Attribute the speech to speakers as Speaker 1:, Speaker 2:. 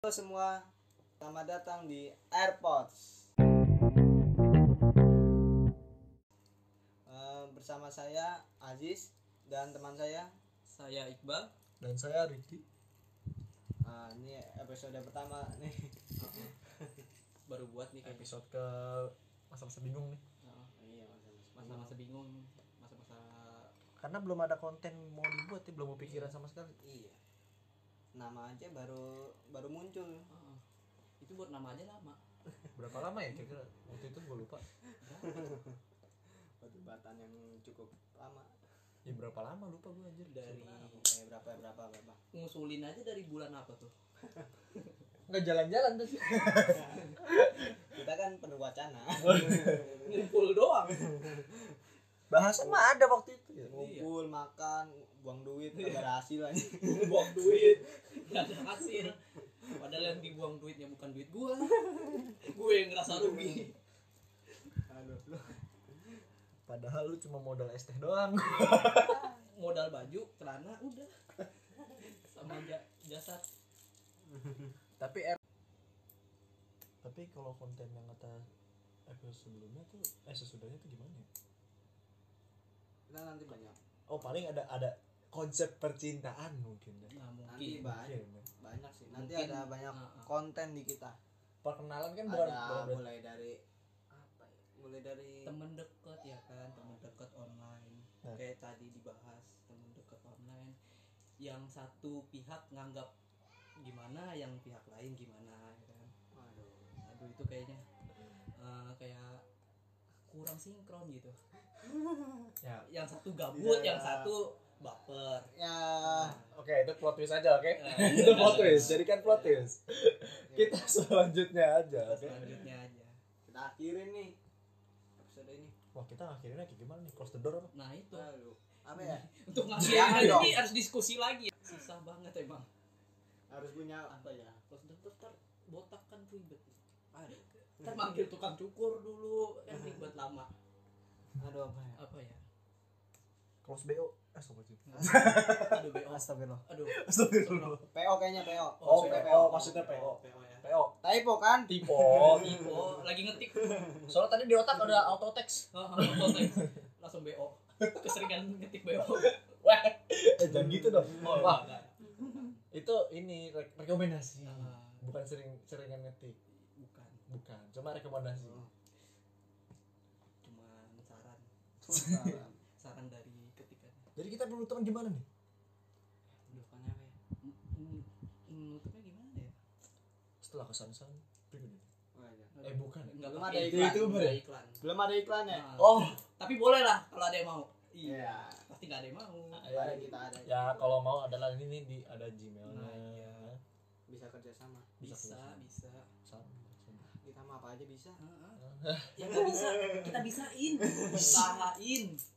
Speaker 1: Halo semua, selamat datang di AirPods. Eh, bersama saya Aziz dan teman saya.
Speaker 2: Saya Iqbal.
Speaker 3: dan saya Riki
Speaker 1: Ah, ini episode pertama nih.
Speaker 2: Baru buat nih kayaknya.
Speaker 3: episode ke masa-masa bingung nih
Speaker 2: Nah,
Speaker 1: Iya,
Speaker 2: Masa-masa bingung, masa-masa
Speaker 3: karena belum ada konten mau dibuat ya belum kepikiran sama sekali
Speaker 1: Iya. Nama aja baru baru muncul.
Speaker 2: Ah, itu buat nama aja lama.
Speaker 3: berapa lama ya kira-kira waktu itu gue lupa
Speaker 1: Perdebatan yang cukup lama.
Speaker 3: ya berapa lama lupa gue anjir
Speaker 2: Dari
Speaker 1: Eh, berapa berapa berapa?
Speaker 2: ngusulin aja dari bulan apa tuh?
Speaker 3: nggak jalan-jalan tuh sih
Speaker 1: Kita kan penuh wacana.
Speaker 2: Ngumpul doang.
Speaker 3: bahasan mah ada waktu itu ya.
Speaker 1: Ngumpul, makan, buang duit, nggak ada hasil aja.
Speaker 2: Buang duit. Gak ada hasil. Padahal yang dibuang duitnya bukan duit gua. gue yang ngerasa rugi.
Speaker 1: Aduh,
Speaker 3: padahal lu cuma modal es teh doang
Speaker 2: Modal baju, celana udah. Sama ja- jasad.
Speaker 3: tapi er tapi kalau konten yang kata episode sebelumnya tuh eh sesudahnya tuh gimana ya
Speaker 1: kita nanti banyak.
Speaker 3: oh paling ada ada konsep percintaan mungkin ya
Speaker 2: Nah,
Speaker 1: Nanti
Speaker 2: mungkin.
Speaker 1: banyak
Speaker 3: Mungkin ya.
Speaker 1: banyak sih. Nanti
Speaker 2: Mungkin,
Speaker 1: ada banyak
Speaker 2: ah, ah.
Speaker 1: konten di kita.
Speaker 3: perkenalan kan bukan
Speaker 1: ada
Speaker 3: bukan berarti-
Speaker 1: mulai dari apa ya? mulai dari
Speaker 2: temen deket ya kan temen deket online
Speaker 3: Nah.
Speaker 2: kayak tadi dibahas temen deket online yang satu pihak nganggap gimana yang pihak lain gimana ya kan
Speaker 1: Aduh.
Speaker 2: aduh itu kayaknya eh, kayak kurang sinkron gitu
Speaker 3: ya
Speaker 2: yang satu gabut
Speaker 1: Iya.
Speaker 2: yang satu baper
Speaker 1: ya
Speaker 2: Nah,
Speaker 3: Oke, itu plot twist aja, oke?
Speaker 2: Eh,
Speaker 3: itu plot twist, jadikan plot twist. Kita selanjutnya aja,
Speaker 2: Nah,
Speaker 3: oke?
Speaker 2: selanjutnya aja
Speaker 1: kita akhirin nih episode ini
Speaker 3: Wah, kita akhirnya kayak gimana nih? Close the door apa?
Speaker 2: nah itu
Speaker 1: aduh apa ya
Speaker 2: untuk ngasih
Speaker 1: Jangan dong.
Speaker 2: ini harus diskusi lagi susah banget emang
Speaker 1: harus punya apa ya
Speaker 2: terus daftar botak kan ribet
Speaker 1: aduh,
Speaker 2: Ntar manggil tukang cukur dulu kan ribet lama
Speaker 1: aduh apa ya
Speaker 2: apa ya
Speaker 3: Close Eh, BO. Astagfirullah.
Speaker 2: aduh bo
Speaker 1: astagfirullah
Speaker 2: aduh
Speaker 3: Astagfirullah.
Speaker 1: PO kayaknya PO
Speaker 3: Oh,
Speaker 1: Maksudnya
Speaker 3: PO, maksudnya PO.
Speaker 2: bo ya
Speaker 3: PO.
Speaker 1: typo kan
Speaker 3: Tipo.
Speaker 2: oh lagi ngetik
Speaker 3: Soalnya tadi di otak ada auto text.
Speaker 2: Oh, kontak. langsung bo keseringan ngetik bo
Speaker 3: Wah, eh, jangan gitu dong. Wah,
Speaker 2: enggak.
Speaker 3: itu ini re- rekomendasi.
Speaker 2: Ah.
Speaker 3: Bukan sering seringan ngetik.
Speaker 2: Eh, bukan
Speaker 3: Bukan, cuma rekomendasi.
Speaker 2: cuman saran
Speaker 1: Salah.
Speaker 2: saran dari ketikan
Speaker 3: Jadi kita penutupan gimana nih?
Speaker 2: aduh kan apa ya M- m- menutupnya gimana ya
Speaker 3: Setelah kesan-kesan. bingung.
Speaker 1: Oh, iya.
Speaker 3: Eh, bukan.
Speaker 2: enggak
Speaker 1: Belum
Speaker 2: pakai
Speaker 1: ada
Speaker 2: iklan,
Speaker 3: iklan.
Speaker 2: belum ada iklan
Speaker 1: belum ada iklannya
Speaker 2: Nah,
Speaker 3: Oh,
Speaker 2: tapi boleh lah kalau ada yang mau
Speaker 1: Iya.
Speaker 2: pasti nggak ada yang mau
Speaker 1: Belum
Speaker 2: iya.
Speaker 1: ada kita ada
Speaker 3: ya kalau mau adalah ini nih di ada Gmailnya
Speaker 2: Nah, iya.
Speaker 1: bisa kerjasama
Speaker 2: bisa bisa
Speaker 3: Sama, sama.
Speaker 1: kita mah apa aja bisa
Speaker 2: Ah, ah. ya nggak bisa kita bisain usahain